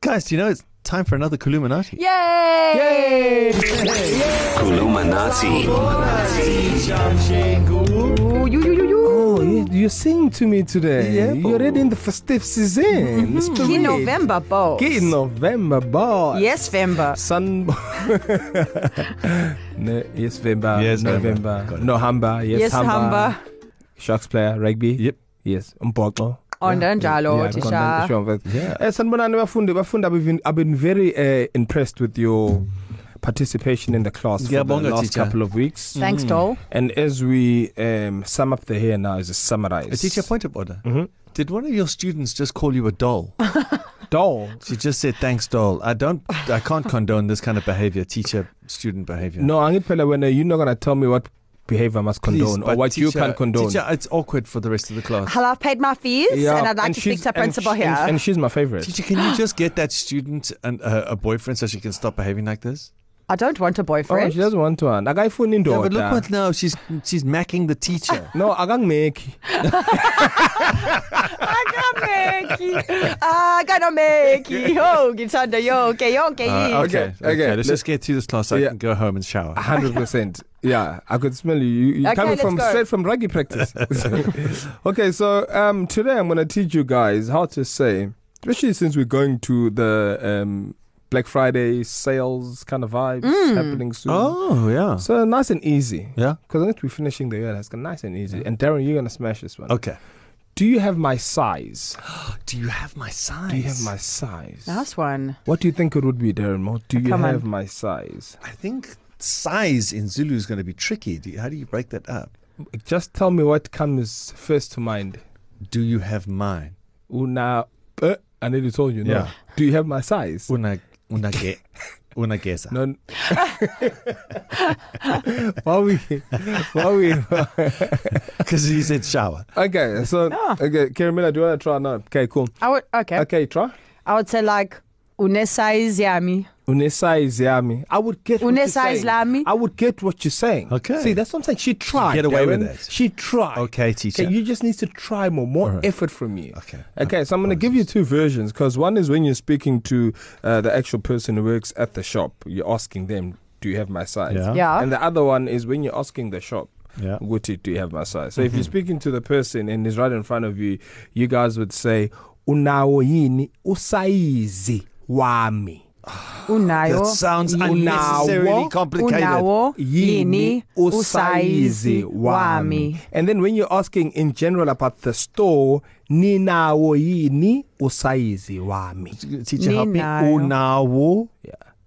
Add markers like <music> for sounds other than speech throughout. Guys, do you know it's time for another Columinati? Yay! Ooh, you, you, you, you. Oh, you, you sing to me today. Yeah, You're already in the festive season. Mm-hmm. It's Key great. November balls. Key November, boy. Yes, Vember. Sun. <laughs> no, yes, Vember. Yes, November. Vember. Got it. No, Humber. Yes, Yes, Humber. Sharks player, rugby. Yep. Yes, umbhoxo. Onda njalo, Yeah, Tisha. kondan- sure, but- Yeah. Eh, sanibonani bafundi bafundi I've been, I've been very uh, impressed with your participation in the class for Ngiyabonga, the last teacher. couple of weeks. Thanks, doll. And as we um, sum up the here now, is a summarize. A teacher point of order. Mhm. Did one of your students just call you a <laughs> doll? Doll. she just said, "Thanks, doll." I don't. I can't condone this kind of behavior, teacher-student behavior. No, Angipela, when uh, you're not going to tell me what behavior I must Please, condone or but what you teacher- can condone. Teacher, it's awkward for the rest of the class. Hello, I've paid my fees, and I'd like to speak she's- to principal and, here. And, and she's my favorite. Teacher, can you just get that student and uh, a boyfriend so she can stop behaving like this? I don't want a oh, boyfriend. she doesn't want one. Akayifuni indoda. No, but look what now she's she's macking the teacher. No, akangimeki. Akameki. Akameki. Yo, ngithanda yonke yonke yini. Uh, <laughs> Okay, okay, Let's just get through this class so I Yeah. Ah. can go home and shower. 100%. yeah, I could smell you. you you Okay, coming let's from go. straight from rugby practice. <laughs> okay, so um, today I'm going to teach you guys how to say, especially since we're going to the um, Black Friday sales kind of vibes Mm. happening soon. Oh yeah, So nice and easy. yeah. Because unless we're finishing the year, that's gonna nice and easy. And Darren, you're gonna smash this one. Okay. Do you have my size? Do you have my size? Do you have my size? Nice one. What do you think it would be, Darren? Mo? Do you Come on. have my size? I think size in Zulu is going to be tricky. Do you, how do you break that up? Just tell me what comes first to mind. Do you have mine? Una, uh, I nearly told you. No. Yeah. Do you have my size? Una una ge, una gesa. <laughs> No. <laughs> why we? Why we? Because he said shower. Okay, so No. okay, Karimela, do you wanna try now? Okay, cool. I would okay. Okay, try. I would say like unesize yami. Unesize yami. I would get what you're Unesize saying. lami. I would get what you're saying. Okay. See, that's what I'm saying. She tried. Get away with Darren. it. She tried. Okay, teacher. Okay, you just need to try more, more Alright. effort from you. Okay. Okay, so I'm going to give you two versions because one is when you're speaking to uh, the actual person who works at the shop, you're asking them, "Do you have my size?" Yeah. Yeah. And the other one is when you're asking the shop. Yeah. Mm-hmm. Guti, do you have my size? So if you're speaking to the person and he's right in front of you, you guys would say, Unawo yini usaizi wami. Unayo. That sounds yini. unnecessarily complicated. Unawo yini yini usaizi wami and then when you're asking in general about the store ninawo yini usaizi wami Teacher, help me. Ninayo. Unawo.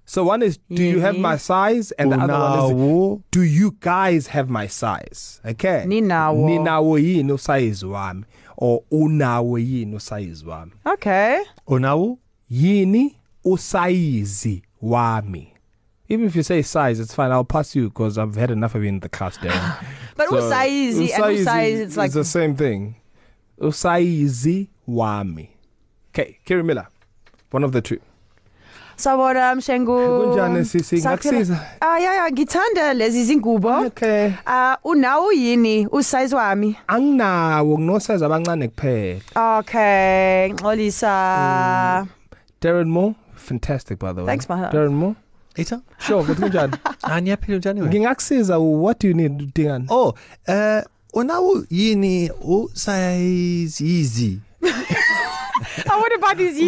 so one is do you have Yini. my size and the other one is Unawo. do you guys have my size okay Ninawo. ninawo yini usaizi wami or unawo yini usaizi wami Okay. Unawo. yini usaizi wami even if you say size it's fine i'll pass you because i've had enough of you in the class there But So, usaizi and usaizi usaizi it's like is the same thing. Usaizi wami. Okay, Kerry Miller, one of the two. Sawona Mshengu. Kunjani, sisi? Saphila- Ngakusiza? Ah yeah yeah ngithanda lezi zingubo. Okay. Ah unawo yini usize wami? Anginawo kunosize abancane kuphela. Okay, Mm. ngixolisa. Darren Moore, fantastic by the way. Thanks, my love. Darren Moore. Eta. Sure, <laughs> but kunjani? Anyaphila njani Ngingakusiza what do you need udingani? Oh, uh, unawo yini usize easy. I want to buy these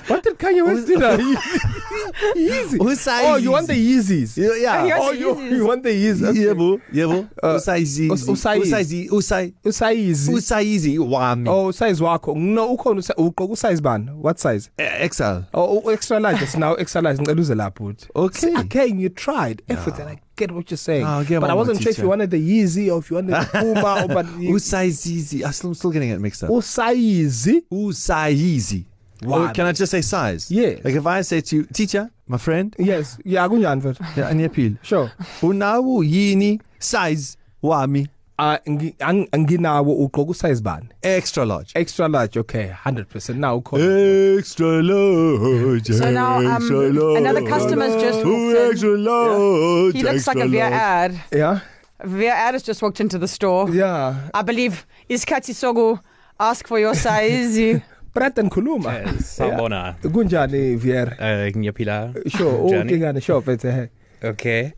Yeezys. What did Kanye West do <laughs> now? Yeezy. Usaizi. <laughs> Oh, you want the Yeezys? Yeah. He wants Oh, the you, Yeezys. you want the Yeezys? Okay. Yebo, yebo. Uh, Usaizi. us- usaizi. Usaizi. Usai. Usaizi. Usaizi wami. Oh, size wakho. No, ukhona usa- ugqoka size bani? What size? Eh, XL. Oh, oh, extra large. It's now extra large. Ngicela uze lapho uthi. Okay. Again, you tried effort and I get what you're saying. Ah, okay, but I mama, wasn't sure if teacher. you wanted the Yeezy or if you wanted the Puma Oh, <laughs> or but you, Usaizi. I'm still, I'm still getting it mixed up. Usaizi. Usaizi. Wow. Or Oh, can I just say size? Yes. Like if I say to you, teacher, my friend, Yes. Yeah, kunjani mfethu? yeah, Oh, Anyapil, Sure. unawo yini size wami Ah, ngi- ang- anginawo ugqoka size bani? extra large? Extra large. Okay, 100%. Now ukhona. Extra large. So now, um, extra large. another customer's just Ooh, walked in. extra large. He looks extra like a VR large. ad. Yeah. VR ad has just walked into the store. Yeah. I believe Iskati Sogo ask for your size. <laughs> Brad and Kuluma. Eh, Sawubona. Kunjani Vier? Eh, ngiyaphila Sure, Njani? ukingane sure phethe. okay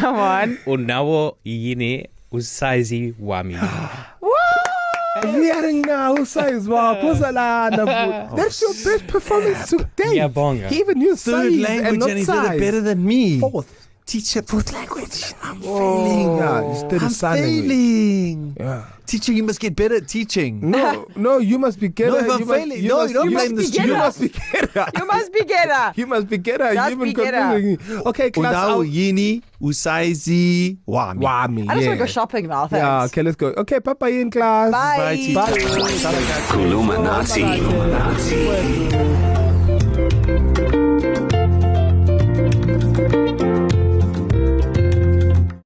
Come on. unawo yini usize wami <laughs> Hearing now size wakho salana. That's your best performance to date. ngiyabonga He even used Third size and language, not and he did size. it better than me. Fourth. Teacher, fourth language. I'm Oh, nah, it's third I'm sign language. failing. Yeah. Teacher, you must get better at teaching. <laughs> No, no, you must be No, Gera. if I'm you failing- must, you no, must, you don't you blame must, the You student. must be Gera. You must be Gera. <laughs> You must be Gera. Just You've been be Gera. confusing me. Okay, class. Unao I'll- yini usaizi wami. Wami. I just want to yeah. go shopping now. Thanks. Yeah, okay, let's go. Okay, Papa in class. Bye. Bye, teacher. Bye. Kuluma Nazi. Bye.